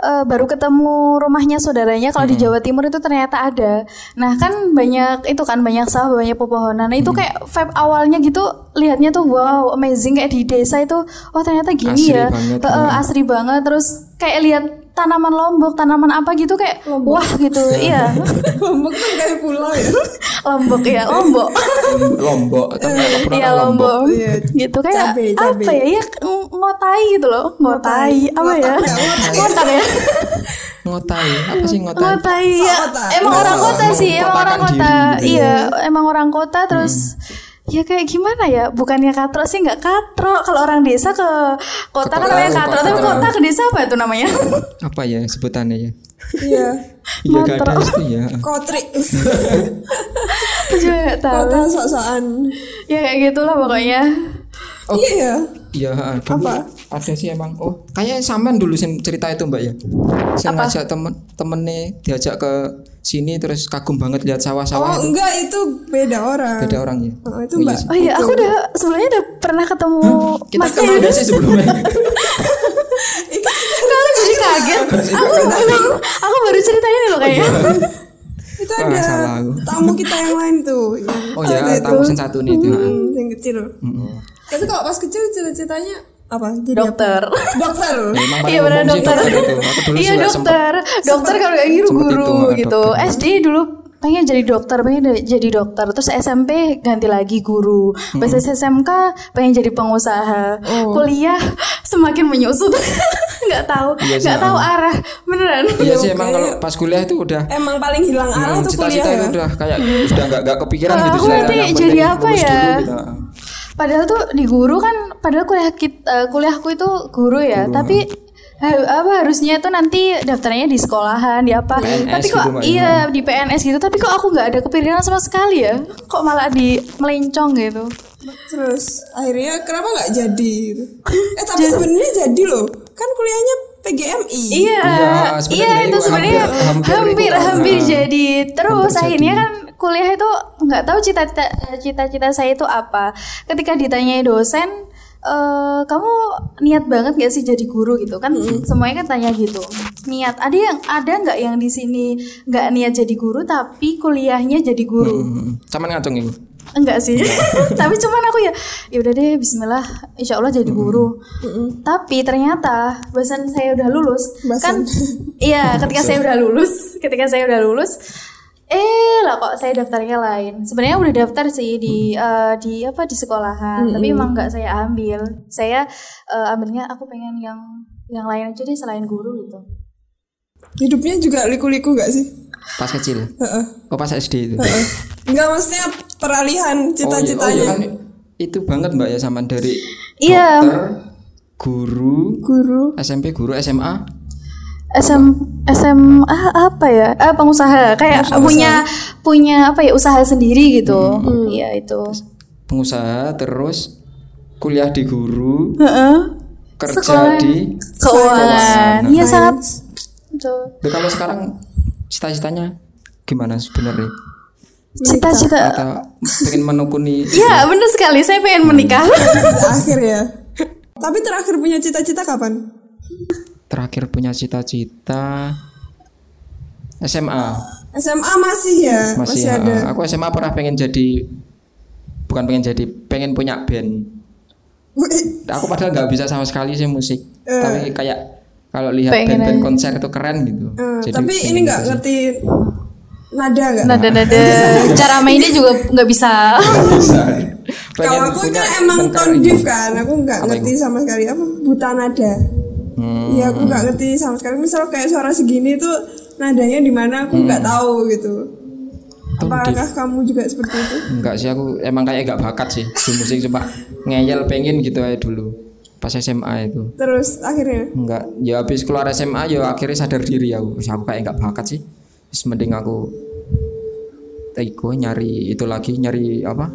Speaker 3: Eh, baru ketemu rumahnya saudaranya kalau di Jawa Timur itu ternyata ada nah kan banyak itu kan banyak sawah banyak pepohonan Nah, itu kayak vibe awalnya gitu lihatnya tuh wow amazing kayak di desa itu oh ternyata
Speaker 2: Asri
Speaker 3: gini ya
Speaker 2: banget,
Speaker 3: Eh, eh,
Speaker 2: ya.
Speaker 3: asri banget terus kayak lihat tanaman lombok tanaman apa gitu kayak wah gitu
Speaker 2: <laughs>
Speaker 3: iya
Speaker 1: Lombok kan kayak pulau ya
Speaker 3: lombok ya lombok <laughs>
Speaker 2: lombok tapi nggak pernah
Speaker 3: Iya
Speaker 2: tahu lombok
Speaker 3: lombok
Speaker 1: Iya.
Speaker 3: gitu kayak
Speaker 1: Cabe, cabe.
Speaker 3: apa ya ya ng- ngotai gitu loh ngotai apa ya
Speaker 1: Ngotak, ngotak.
Speaker 3: ngotak ya
Speaker 2: ngotai apa sih ngotai
Speaker 3: ngotai ya
Speaker 1: Kota. Iya.
Speaker 3: emang orang kota sih emang orang
Speaker 2: Mengkotakan
Speaker 3: kota
Speaker 2: diri gitu
Speaker 3: iya emang orang kota terus ya kayak gimana ya bukannya katro sih nggak katro kalau orang desa ke
Speaker 2: Ke
Speaker 3: kota kan
Speaker 2: kota,
Speaker 3: namanya
Speaker 2: ke
Speaker 3: katro tapi
Speaker 2: kota.
Speaker 3: kota ke desa apa itu namanya
Speaker 2: apa ya sebutannya ya
Speaker 1: Iya
Speaker 2: iya gak ada
Speaker 3: Ngontrak.
Speaker 2: itu ya
Speaker 1: Kotri
Speaker 3: aku juga nggak tahu
Speaker 1: Kota sok-sokan
Speaker 3: ya kayak gitulah pokoknya
Speaker 2: Oh.
Speaker 1: Iya ya
Speaker 2: iya ha, dulu
Speaker 1: Apa?
Speaker 2: ada sih emang oh kayaknya sampean dulu sen cerita itu mbak ya sen
Speaker 3: Apa?
Speaker 2: ngajak temen temennya diajak ke sini terus kagum banget lihat
Speaker 1: Oh
Speaker 2: sawah-sawah itu
Speaker 1: enggak itu beda orang <laughs>
Speaker 2: beda orang ya
Speaker 1: Oh, itu
Speaker 2: Oh, iya
Speaker 1: mbak
Speaker 2: sih.
Speaker 3: oh iya aku udah sebelumnya udah pernah ketemu
Speaker 2: kita
Speaker 3: Mas
Speaker 2: kan
Speaker 3: Dewi.
Speaker 2: udah sih sebelumnya
Speaker 1: <laughs>
Speaker 3: Aku jadi kaget. Aku belum. Aku baru ceritain loh kayaknya.
Speaker 1: Itu
Speaker 2: Ah,
Speaker 1: ada
Speaker 2: salah aku.
Speaker 1: tamu kita yang lain tuh yang
Speaker 2: <laughs> oh ya
Speaker 1: waktu itu.
Speaker 2: tamu sen satu nih itu ha.
Speaker 1: Hmm, yang kecil. Tapi kalau pas kecil cita-citanya apa? Jadi
Speaker 2: Iya,
Speaker 3: Dokter.
Speaker 1: apa? Dokter.
Speaker 2: emang paling
Speaker 3: <laughs> Iya benar
Speaker 2: umum sih
Speaker 3: dokter.
Speaker 2: itu aku gitu, dulu
Speaker 3: Iya
Speaker 2: juga sempet
Speaker 3: dokter. Dokter kalau kayak gitu
Speaker 2: sempet
Speaker 3: guru
Speaker 2: itu, ah,
Speaker 3: gitu.
Speaker 2: dokter.
Speaker 3: SD dulu pengen jadi dokter, pengen da- jadi dokter. Terus SMP ganti lagi guru. Pas SMK pengen jadi pengusaha.
Speaker 2: Oh.
Speaker 3: Kuliah <laughs> semakin menyusut. <laughs> nggak tahu,
Speaker 2: Iya sih,
Speaker 3: nggak tahu
Speaker 2: ah.
Speaker 3: arah. Beneran.
Speaker 2: iya sih emang kalau pas kuliah itu udah
Speaker 3: Ah,
Speaker 1: Emang paling hilang arah
Speaker 2: Hmm,
Speaker 1: tuh
Speaker 2: cita-cita
Speaker 1: kuliah ya.
Speaker 2: itu udah kayak udah nggak nggak kepikiran
Speaker 3: Wah,
Speaker 2: gitu
Speaker 3: Ah, aku nanti
Speaker 2: cita-cita. Yang
Speaker 3: jadi
Speaker 2: penting
Speaker 3: apa
Speaker 2: lulus
Speaker 3: ya?
Speaker 2: dulu gitu.
Speaker 3: Padahal tuh di guru kan, padahal kuliah kit- eh, kuliahku itu guru ya, tapi eh, apa harusnya tuh nanti daftarnya di sekolahan di apa?
Speaker 2: PNS
Speaker 3: tapi kok
Speaker 2: gitu, Mbak,
Speaker 3: iya di PNS gitu, tapi kok aku nggak ada kepikiran sama sekali ya? Kok malah di melencong gitu?
Speaker 1: Terus akhirnya kenapa nggak
Speaker 2: <laughs>
Speaker 1: jadi? gitu? Eh tapi sebenarnya jadi loh. Kan kuliahnya PGMI.
Speaker 3: Iya,
Speaker 2: Iya, sebenarnya
Speaker 3: iya
Speaker 2: dari
Speaker 3: itu
Speaker 2: gua
Speaker 3: sebenarnya
Speaker 2: hampir- hampir
Speaker 3: hampir hampir,
Speaker 2: ikutan. Nah,
Speaker 3: jadi terus
Speaker 2: hampir
Speaker 3: akhirnya kan kuliah itu nggak tahu cita-cita cita-cita saya itu apa. Ketika ditanyai dosen, eh kamu niat banget gak sih jadi guru gitu kan? Semuanya kan tanya gitu. Niat ada yang ada nggak yang di sini nggak niat jadi guru tapi kuliahnya jadi guru?
Speaker 2: Hmm, cuman ngacung ini
Speaker 3: Enggak sih. <laughs> Tapi cuman aku ya ya udah deh bismillah insya Allah jadi guru. Tapi ternyata bahasan saya udah lulus
Speaker 1: Bahasan.
Speaker 3: kan iya ketika saya udah lulus, ketika saya udah lulus Eh lah kok saya daftarnya lain. Sebenarnya udah daftar sih di eh, di apa di sekolahan, tapi emang nggak saya ambil. Saya eh, ambilnya aku pengen yang yang lain aja deh selain guru gitu.
Speaker 1: Hidupnya juga liku-liku gak sih?
Speaker 2: Pas kecil.
Speaker 1: Heeh.
Speaker 2: Oh pas SD itu.
Speaker 1: Heeh. Enggak maksudnya peralihan
Speaker 2: Oh iya, oh iya
Speaker 1: cita-citanya.
Speaker 2: kan itu banget Mbak ya sama dari
Speaker 3: Iya.
Speaker 2: dokter, guru,
Speaker 1: Guru.
Speaker 2: SMP guru, SMA.
Speaker 3: SM SMA apa ya? Eh pengusaha kayak punya punya apa ya usaha sendiri gitu. Iya itu.
Speaker 2: pengusaha terus kuliah di guru
Speaker 3: Heeh.
Speaker 2: kerja
Speaker 3: Sekolah.
Speaker 2: di
Speaker 3: Keuangan. Iya sangat Betul.
Speaker 2: Loh, kalau sekarang cita-citanya gimana sebenarnya
Speaker 3: cita-cita
Speaker 2: atau pengen menekuni
Speaker 3: Ya bener sekali saya pengen <laughs> menikah
Speaker 1: Akhir ya. Tapi terakhir punya cita-cita kapan?
Speaker 2: terakhir punya cita-cita SMA
Speaker 1: SMA masih ya, masih,
Speaker 2: masih,
Speaker 1: ada. <laughs>
Speaker 2: ah, aku SMA pernah pengen jadi bukan pengen jadi pengen punya band
Speaker 1: Eh,
Speaker 2: aku padahal nggak bisa sama sekali sih musik tapi kayak kalau lihat
Speaker 3: Pengen
Speaker 2: band-band
Speaker 3: aja.
Speaker 2: konser itu keren gitu
Speaker 1: Eh,
Speaker 2: Jadi
Speaker 1: tapi
Speaker 2: pengen
Speaker 1: ini nggak
Speaker 2: gitu sih.
Speaker 1: ngerti nada nggak?
Speaker 3: Nada-nada Cara mainnya juga nggak bisa <laughs>
Speaker 2: Pengen
Speaker 1: Kalau aku
Speaker 2: punya
Speaker 1: kan emang
Speaker 2: tengkar
Speaker 1: tone
Speaker 2: gitu.
Speaker 1: div kan, aku nggak ngerti sama sekali apa buta nada.
Speaker 2: Hmm.
Speaker 1: Iya aku nggak ngerti sama sekali. Misal kayak suara segini tuh nadanya di mana aku
Speaker 2: Hmm.
Speaker 1: nggak tahu gitu.
Speaker 2: Tone
Speaker 1: Apakah kamu juga seperti itu?
Speaker 2: Enggak sih aku emang kayak gak bakat sih di musik cuma ngeyel pengen gitu aja dulu pas SMA itu
Speaker 1: Terus akhirnya
Speaker 2: enggak ya habis keluar SMA ya akhirnya sadar diri aku Terus aku kayak gak bakat sih terus mending aku teko nyari itu lagi nyari apa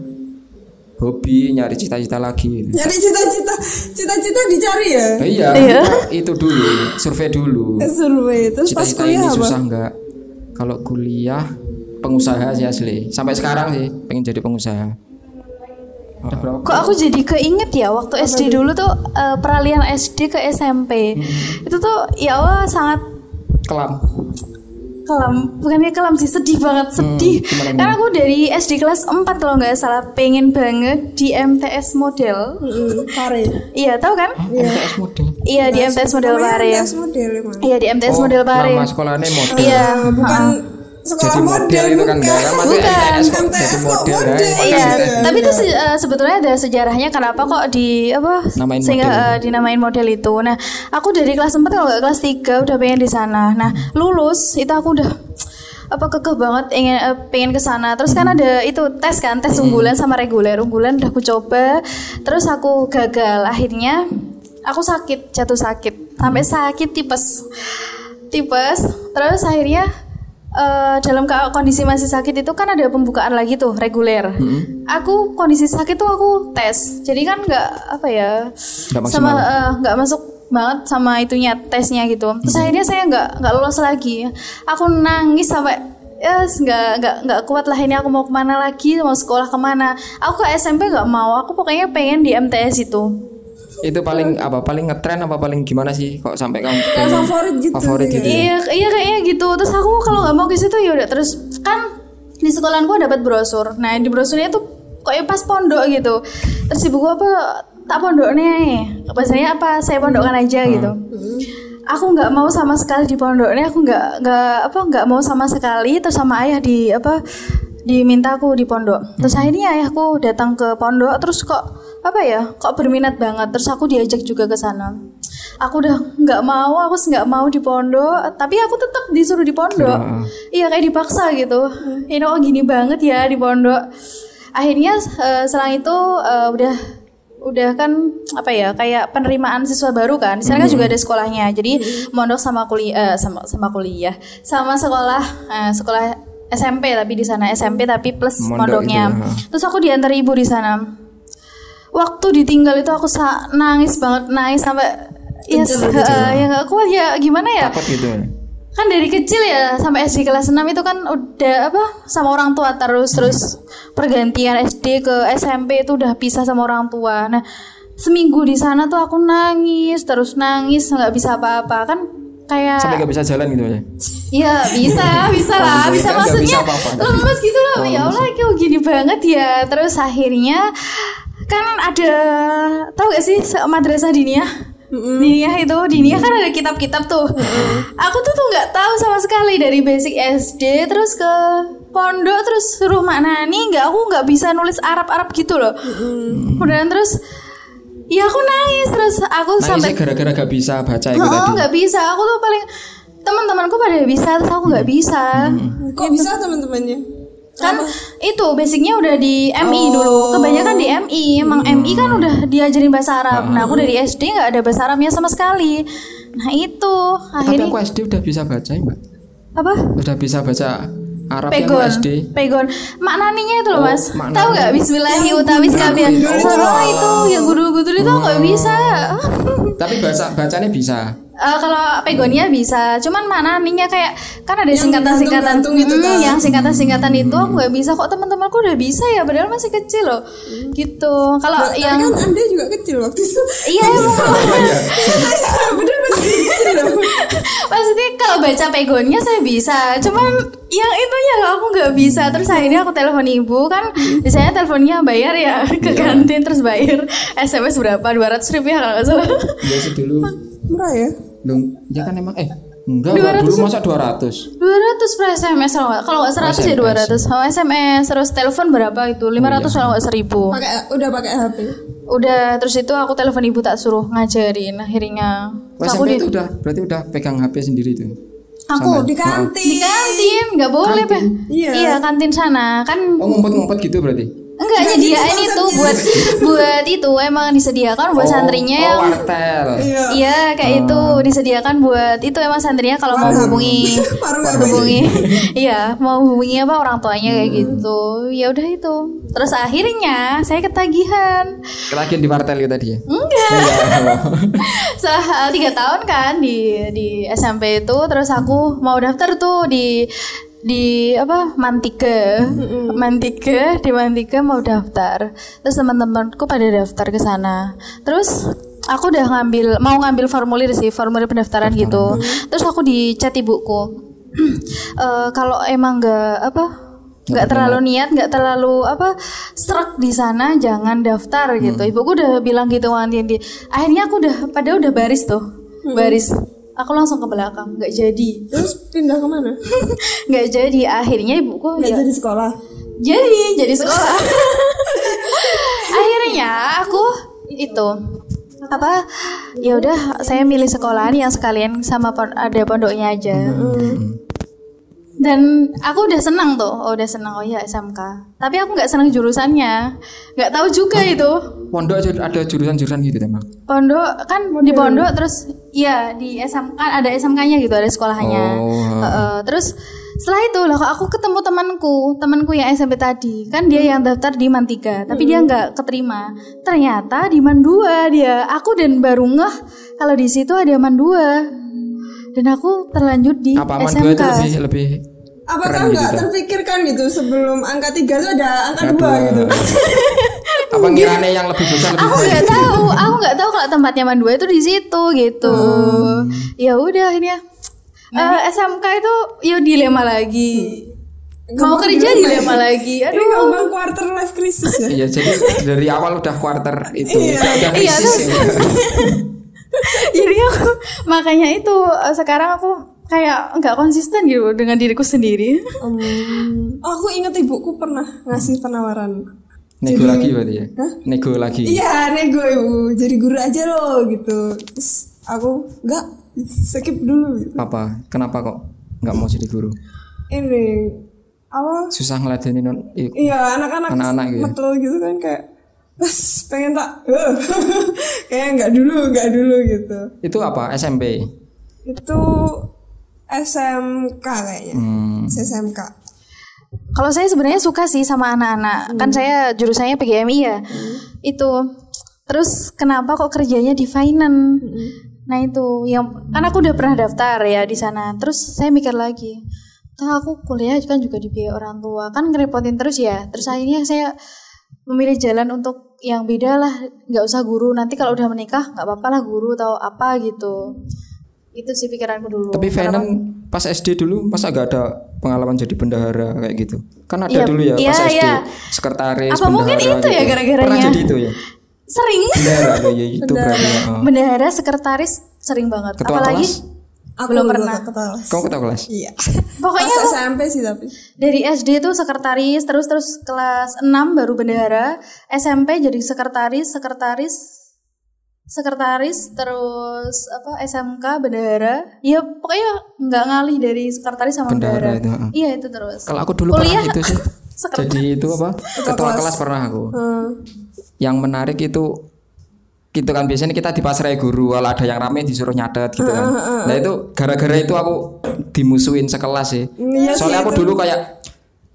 Speaker 2: hobi nyari cita-cita lagi
Speaker 1: nyari cita-cita, cita-cita dicari ya.
Speaker 2: Nah, iya
Speaker 3: Iya.
Speaker 2: kita itu dulu survei dulu
Speaker 1: Survei terus pas
Speaker 2: cita-cita
Speaker 1: kuliah
Speaker 2: ini
Speaker 1: apa?
Speaker 2: susah enggak kalau kuliah pengusaha sih asli sampai sekarang sih pengen jadi pengusaha Udah berapa
Speaker 3: Kok aku jadi keinget ya waktu SD dulu tuh eh, peralihan SD ke SMP. Itu tuh ya Allah sangat
Speaker 2: kelam
Speaker 3: kelam bukannya kelam sih sedih banget
Speaker 2: Hmm,
Speaker 3: sedih
Speaker 2: gimana, gimana?
Speaker 3: karena aku dari SD kelas 4 kalau nggak salah pengen banget di MTS model
Speaker 1: Mm, Pare.
Speaker 3: iya tahu kan
Speaker 2: MTS model
Speaker 3: iya
Speaker 1: Nah,
Speaker 3: di MTS model
Speaker 1: Namanya
Speaker 3: pare
Speaker 1: MTS model emang.
Speaker 3: iya di
Speaker 2: Oh,
Speaker 3: MTS model pare
Speaker 2: nama sekolahnya model
Speaker 3: iya
Speaker 1: Nah, bukan sekolah
Speaker 2: Jadi model
Speaker 1: model
Speaker 2: itu kan nggak, kan? Maksudnya
Speaker 1: bukan.
Speaker 2: MTS kok jadi
Speaker 1: MTS kok
Speaker 2: model,
Speaker 1: model.
Speaker 2: ya?
Speaker 3: Iya,
Speaker 2: Iya.
Speaker 3: tapi itu se- eh, sebetulnya ada sejarahnya kenapa kok di apa
Speaker 2: Namain
Speaker 3: sehingga
Speaker 2: model.
Speaker 3: eh, dinamain model itu. Nah, aku dari kelas 4 kalau nggak kelas 3 udah pengen di sana. Nah, lulus itu aku udah apa kekeh banget ingin eh, pengen ke sana. Terus kan ada itu tes kan, tes unggulan sama reguler. Unggulan udah aku coba, terus aku gagal. Akhirnya aku sakit, jatuh sakit. Sampai sakit tipes. Tipes. Terus akhirnya Eh, dalam ke- kondisi masih sakit itu kan ada pembukaan lagi tuh reguler. Aku kondisi sakit tuh aku tes, jadi kan nggak apa ya,
Speaker 2: Nggak maksimal.
Speaker 3: sama eh, nggak masuk banget sama itunya tesnya gitu.
Speaker 2: Hmm.
Speaker 3: Terus akhirnya saya nggak nggak lolos lagi. Aku nangis sampai yes nggak nggak nggak kuat lah ini aku mau kemana lagi mau sekolah kemana. Aku ke SMP nggak mau, aku pokoknya pengen di MTS itu.
Speaker 2: itu paling apa paling ngetren apa paling gimana sih kok sampai kamu
Speaker 1: Kayak
Speaker 2: pengen
Speaker 1: favorit gitu.
Speaker 2: favorit gitu ya?
Speaker 3: Iya, iya kayaknya gitu. Terus aku kalau nggak mau ke situ ya udah terus kan di sekolahanku dapat brosur. Nah, di brosurnya tuh kayak pas pondok gitu. Terus ibu gua apa tak pondoknya nih. Bahasanya apa saya pondokkan aja
Speaker 2: Hmm.
Speaker 3: gitu. Aku nggak mau sama sekali di pondoknya, aku nggak nggak apa nggak mau sama sekali terus sama ayah di apa diminta aku di pondok. Terus
Speaker 2: Hmm.
Speaker 3: akhirnya ayahku datang ke pondok terus kok apa ya kok berminat banget terus aku diajak juga ke sana aku udah nggak mau aku nggak mau di pondok tapi aku tetap disuruh di
Speaker 2: ah.
Speaker 3: pondok iya kayak dipaksa gitu ini kok gini banget ya di pondok akhirnya eh, selang itu eh, udah udah kan apa ya kayak penerimaan siswa baru kan di
Speaker 2: Mm-hmm.
Speaker 3: sana kan juga ada sekolahnya jadi mondok sama kuliah sama sama kuliah sama sekolah eh, sekolah SMP tapi di sana SMP tapi plus
Speaker 2: Mondok itu,
Speaker 3: mondoknya
Speaker 2: ha.
Speaker 3: terus aku diantar ibu di sana waktu ditinggal itu aku sa- nangis banget nangis sampai ya se- eh, ya nggak kuat ya gimana ya
Speaker 2: takut gitu ya?
Speaker 3: kan dari kecil ya sampai SD kelas 6 itu kan udah apa sama orang tua terus terus pergantian SD ke SMP itu udah pisah sama orang tua nah seminggu di sana tuh aku nangis terus nangis nggak bisa apa-apa kan kayak
Speaker 2: sampai gak bisa jalan gitu ya
Speaker 3: Iya bisa, bisa lah,
Speaker 2: Oh, bisa.
Speaker 3: bisa
Speaker 2: Nggak
Speaker 3: maksudnya
Speaker 2: bisa apa-apa.
Speaker 3: lemes gitu loh. ya Allah, kok gini banget ya. Terus akhirnya kan ada tahu gak sih se- madrasah diniyah? Diniyah itu Diniyah kan ada kitab-kitab tuh Aku tuh tuh nggak tahu sama sekali Dari basic SD Terus ke pondok Terus suruh Mak Nani nggak Aku nggak bisa nulis Arab-Arab gitu loh Kemudian terus Ya aku nangis Terus aku sampai
Speaker 2: Nangisnya Nah, iya gara-gara gak bisa baca itu
Speaker 3: Oh
Speaker 2: gitu tadi.
Speaker 3: nggak bisa Aku tuh paling Teman-temanku pada bisa Terus aku
Speaker 2: Hmm.
Speaker 3: nggak bisa Ya,
Speaker 1: Kok bisa teman-temannya?
Speaker 3: kan itu basicnya udah di MI dulu kebanyakan di MI emang MI
Speaker 2: Hmm.
Speaker 3: kan udah diajarin bahasa Arab nah aku dari SD nggak ada bahasa Arabnya sama sekali nah itu
Speaker 2: Tapi
Speaker 3: akhirnya
Speaker 2: aku SD udah bisa baca, Mbak.
Speaker 3: apa
Speaker 2: Udah bisa baca Arab yang aku
Speaker 3: pegon
Speaker 2: SD.
Speaker 3: pegon maknanya itu loh
Speaker 2: Oh,
Speaker 3: mas
Speaker 2: maknanya.
Speaker 3: tahu nggak Bismillahi utawi sekalian
Speaker 1: gundul itu
Speaker 3: oh
Speaker 1: loh.
Speaker 3: itu yang gudul-gudul itu aku nggak bisa
Speaker 2: Tapi bahasa bacanya bisa.
Speaker 3: Eh, kalau pegonnya bisa, cuman maknanya kayak kan ada singkatan-singkatan
Speaker 1: digantung-gantung itu
Speaker 3: Hmm,
Speaker 1: kan.
Speaker 3: yang singkatan-singkatan itu aku nggak bisa kok teman-temanku udah bisa ya padahal masih kecil loh. Gitu. Kalau
Speaker 1: Tapi
Speaker 3: yang
Speaker 1: kan Anda juga kecil waktu itu.
Speaker 3: Iya
Speaker 1: <laughs>
Speaker 3: emang. <laughs>
Speaker 2: ya,
Speaker 3: Iya.
Speaker 1: Saya <laughs> bener masih kecil loh.
Speaker 3: Maksudnya kalau baca pegonnya saya bisa Cuman yang itunya loh aku nggak bisa Terus akhirnya aku telepon ibu kan Biasanya teleponnya bayar ya <laughs>
Speaker 1: Iya.
Speaker 3: ke kantin Terus bayar <laughs> SMS berapa 200 ribu ya kalau nggak salah
Speaker 2: Ya sih dulu.
Speaker 1: Murah ya?
Speaker 2: Dong, ya kan emang eh enggak Mbak. dulu masa 200.
Speaker 3: 200 per SMS kalau nggak- Kalau nggak 100 ya 200 oh, SMS Terus telepon berapa itu
Speaker 2: Iya.
Speaker 3: 500 kalau nggak 1000
Speaker 1: Pakai udah pakai HP.
Speaker 3: Udah terus itu aku telepon ibu tak suruh ngajarin Akhirnya
Speaker 2: Wah, SMP
Speaker 3: aku di,
Speaker 2: itu udah berarti udah pegang HP sendiri itu.
Speaker 3: aku
Speaker 1: Di
Speaker 3: di kan.
Speaker 1: kantin.
Speaker 3: kantin nggak boleh Pe.
Speaker 1: Iya.
Speaker 3: iya kantin sana kan
Speaker 2: Oh, ngumpet-ngumpet gitu berarti.
Speaker 3: Enggak nyediain itu buat buat itu emang disediakan buat santrinya ya.
Speaker 2: oh,
Speaker 3: yang
Speaker 2: wartel.
Speaker 1: Iya.
Speaker 3: iya kayak itu disediakan buat itu emang santrinya kalau mau hubungi
Speaker 1: Oh. <laughs> Baru nggak
Speaker 3: hubungi <laughs> iya mau hubungi apa orang tuanya kayak
Speaker 1: Hmm.
Speaker 3: gitu ya udah itu terus akhirnya saya ketagihan
Speaker 2: Kelagian di wartel itu tadi ya.
Speaker 3: enggak <laughs>
Speaker 2: Enggak.
Speaker 3: Setelah tiga tahun kan di di SMP itu terus aku mau daftar tuh di di apa Mantike Mantike di Mantike mau daftar terus teman-temanku pada daftar ke sana terus aku udah ngambil mau ngambil formulir sih formulir pendaftaran gitu terus aku di chat ibuku <clears throat> Eh, kalau emang nggak apa nggak terlalu niat nggak terlalu apa serak di sana jangan daftar
Speaker 1: Hmm.
Speaker 3: gitu ibuku udah bilang gitu wanti akhirnya aku udah padahal udah baris tuh
Speaker 1: Hmm.
Speaker 3: baris aku langsung ke belakang nggak
Speaker 1: <laughs>
Speaker 3: jadi
Speaker 1: Terus pindah kemana? Iya.
Speaker 3: nggak jadi akhirnya ibuku
Speaker 1: Nggak
Speaker 3: ya,
Speaker 1: jadi sekolah.
Speaker 3: jadi jadi
Speaker 1: <laughs>
Speaker 3: sekolah akhirnya aku itu apa ya udah saya milih sekolahan yang sekalian sama pon- ada pondoknya aja
Speaker 2: Hmm.
Speaker 3: dan aku udah senang tuh oh, udah senang oh ya SMK tapi aku nggak senang jurusannya nggak tahu juga
Speaker 2: Hmm.
Speaker 3: itu
Speaker 2: Pondok aja ada jurusan-jurusan gitu emang.
Speaker 3: pondok kan di pondok terus ya di SMK kan ada SMK-nya gitu ada sekolahannya
Speaker 2: Oh, ha.
Speaker 3: Heeh, terus setelah itu lah kok aku ketemu temanku temanku yang SMP tadi kan dia yang daftar di Man 3 tapi
Speaker 2: Hmm.
Speaker 3: dia nggak keterima ternyata di Man 2 dia aku dan baru ngeh kalau di situ ada Man 2 dan aku terlanjut di
Speaker 2: Apa aman
Speaker 3: SMK
Speaker 2: dua itu lebih lebih
Speaker 1: Apakah nggak terpikirkan gitu sebelum angka tiga itu ada angka dua
Speaker 2: Aduh.
Speaker 1: gitu?
Speaker 2: <laughs> apa ngirane yang lebih susah lebih
Speaker 3: aku nggak tahu aku nggak tahu kalau tempatnya mandua itu di situ gitu ya udah akhirnya Eh, SMK itu ya dilema lagi mau kerja dilema lagi
Speaker 1: Ini
Speaker 3: aduh
Speaker 1: gampang quarter life crisis ya.
Speaker 2: Iya jadi dari awal udah quarter itu
Speaker 1: Iya.
Speaker 2: udah
Speaker 3: Iya,
Speaker 2: krisis ya.
Speaker 3: terus- jadi aku makanya itu eh, sekarang aku kayak nggak konsisten gitu dengan diriku sendiri
Speaker 1: Em, Oh, aku inget ibuku pernah ngasih
Speaker 2: Hmm.
Speaker 1: penawaran.
Speaker 2: nego lagi berarti ya nego lagi
Speaker 1: Iya, nego ibu. Jadi guru aja loh gitu. Terus aku nggak skip dulu. gitu.
Speaker 2: apa kenapa kok nggak mau jadi guru
Speaker 1: Ini awal
Speaker 2: susah ngeladenin non i-
Speaker 1: Iya anak-anak
Speaker 2: Anak-anak gitu.
Speaker 1: metel gitu kan kayak "Wes, pengen tak <laughs> kayak nggak dulu nggak dulu gitu
Speaker 2: itu apa SMP
Speaker 1: itu SMK kayaknya
Speaker 2: Hmm.
Speaker 1: SMK
Speaker 3: kalau saya sebenarnya suka sih sama anak-anak kan saya jurusannya PGMI ya itu terus kenapa kok kerjanya di finance nah itu yang kan aku udah pernah daftar ya di sana terus saya mikir lagi Tuh aku kuliah kan juga di biaya orang tua kan ngerepotin terus ya terus akhirnya saya memilih jalan untuk yang beda lah nggak usah guru nanti kalau udah menikah nggak apa-apa lah guru atau apa gitu itu sih pikiranku dulu
Speaker 2: tapi Venom pas SD dulu masa nggak ada pengalaman jadi bendahara kayak gitu kan ada
Speaker 3: Iya,
Speaker 2: dulu ya pas
Speaker 3: iya,
Speaker 2: SD
Speaker 3: iya.
Speaker 2: sekretaris
Speaker 3: Apa mungkin
Speaker 2: bendahara
Speaker 3: itu ya
Speaker 2: gitu.
Speaker 3: gara-garanya?
Speaker 2: pernah jadi itu ya
Speaker 3: sering
Speaker 2: Bendahara kayak gitu berarti. heeh.
Speaker 3: bendahara sekretaris sering banget
Speaker 2: Ketua
Speaker 3: apalagi
Speaker 2: kelas?
Speaker 1: Aku
Speaker 3: Belum
Speaker 1: dulu
Speaker 3: pernah.
Speaker 1: ketua kelas.
Speaker 2: Kamu ketua kelas?
Speaker 1: Iya.
Speaker 3: Pokoknya
Speaker 1: Pas
Speaker 3: aku-
Speaker 1: SMP sih tapi.
Speaker 3: dari SD itu sekretaris terus terus kelas 6 baru bendahara SMP jadi sekretaris sekretaris sekretaris terus apa SMK bendahara ya pokoknya nggak ngalih dari sekretaris sama
Speaker 2: Bendahara
Speaker 3: bendahara,
Speaker 2: itu, heeh.
Speaker 3: iya itu terus
Speaker 2: Kalau aku dulu
Speaker 3: Kuliah,
Speaker 2: pernah itu
Speaker 1: <laughs>
Speaker 2: sih.
Speaker 3: sekretaris.
Speaker 2: Jadi itu apa? Ketua
Speaker 1: kelas.
Speaker 2: kelas pernah aku.
Speaker 1: Hmm.
Speaker 2: yang menarik itu gitu kan biasanya kita di pasrai guru kalau ada yang rame disuruh nyatet gitu
Speaker 1: Hmm,
Speaker 2: kan nah itu gara-gara itu aku dimusuhin sekelas sih
Speaker 1: Iya sih,
Speaker 2: soalnya aku
Speaker 1: itu.
Speaker 2: dulu kayak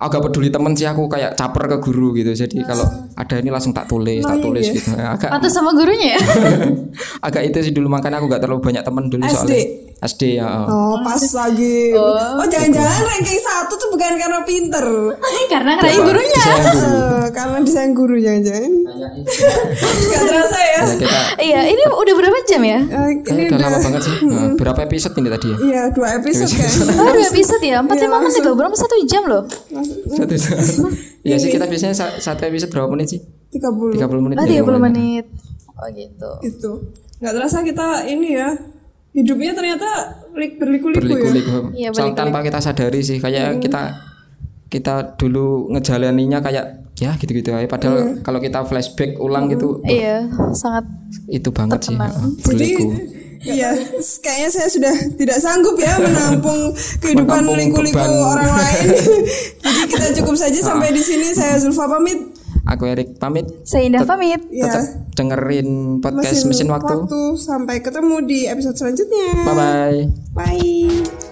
Speaker 2: agak peduli temen sih aku kayak caper ke guru gitu jadi kalau ada ini langsung tak tulis
Speaker 1: Oh, iya,
Speaker 2: tak tulis gitu <laughs> agak
Speaker 3: patuh sama gurunya ya <laughs>
Speaker 2: <laughs> agak itu sih dulu makanya aku gak terlalu banyak temen dulu
Speaker 1: SD?
Speaker 2: soalnya SD ya
Speaker 1: <laughs> Oh,
Speaker 2: oh.
Speaker 1: pas lagi. Oh, jangan-jangan ranking satu tuh bukan karena pinter.
Speaker 3: karena kan ngerayu gurunya
Speaker 2: Disayang guru.
Speaker 1: Eh, karena disayang guru jangan-jangan. Gak terasa ya.
Speaker 2: Ya, kita
Speaker 3: iya ini udah berapa jam ya
Speaker 1: Eh,
Speaker 2: Iya.
Speaker 1: ini Hmm.
Speaker 2: kayaknya udah lama banget sih Nah, berapa episode ini tadi ya
Speaker 1: Iya, dua episode kan? kayaknya.
Speaker 3: baru episode ya
Speaker 2: Iya,
Speaker 3: 45 menit loh belum satu jam loh
Speaker 2: satu <laughs> ya sih kita biasanya sa- satu episode berapa menit sih
Speaker 1: 30
Speaker 2: 30 menit
Speaker 3: ah
Speaker 2: ya,
Speaker 3: 30
Speaker 2: lumayan.
Speaker 3: menit oh gitu
Speaker 1: itu. Gak terasa kita ini ya. Hidupnya ternyata li- berliku-liku ya.
Speaker 2: berliku-liku.
Speaker 3: Iya,
Speaker 2: Soal
Speaker 3: berliku-liku.
Speaker 2: tanpa kita sadari sih kayak kita kita dulu ngejalaninya kayak ya gitu-gitu aja padahal kalau kita flashback ulang gitu
Speaker 3: iya sangat
Speaker 2: itu banget sih
Speaker 3: Terkenang.
Speaker 2: heeh,
Speaker 1: Jadi
Speaker 2: berliku
Speaker 1: Iya, kayaknya saya sudah tidak sanggup ya menampung kehidupan
Speaker 2: <laughs> Menampung
Speaker 1: liku-liku
Speaker 2: beban. Ah.
Speaker 1: orang lain. <laughs> Jadi kita cukup saja sampai di sini. Saya Zulfa pamit.
Speaker 2: aku Erik pamit
Speaker 3: saya Indah pamit
Speaker 1: Ya.
Speaker 2: tetap dengerin podcast mesin, waktu,
Speaker 1: Sampai ketemu di episode selanjutnya.
Speaker 2: bye bye
Speaker 1: Bye.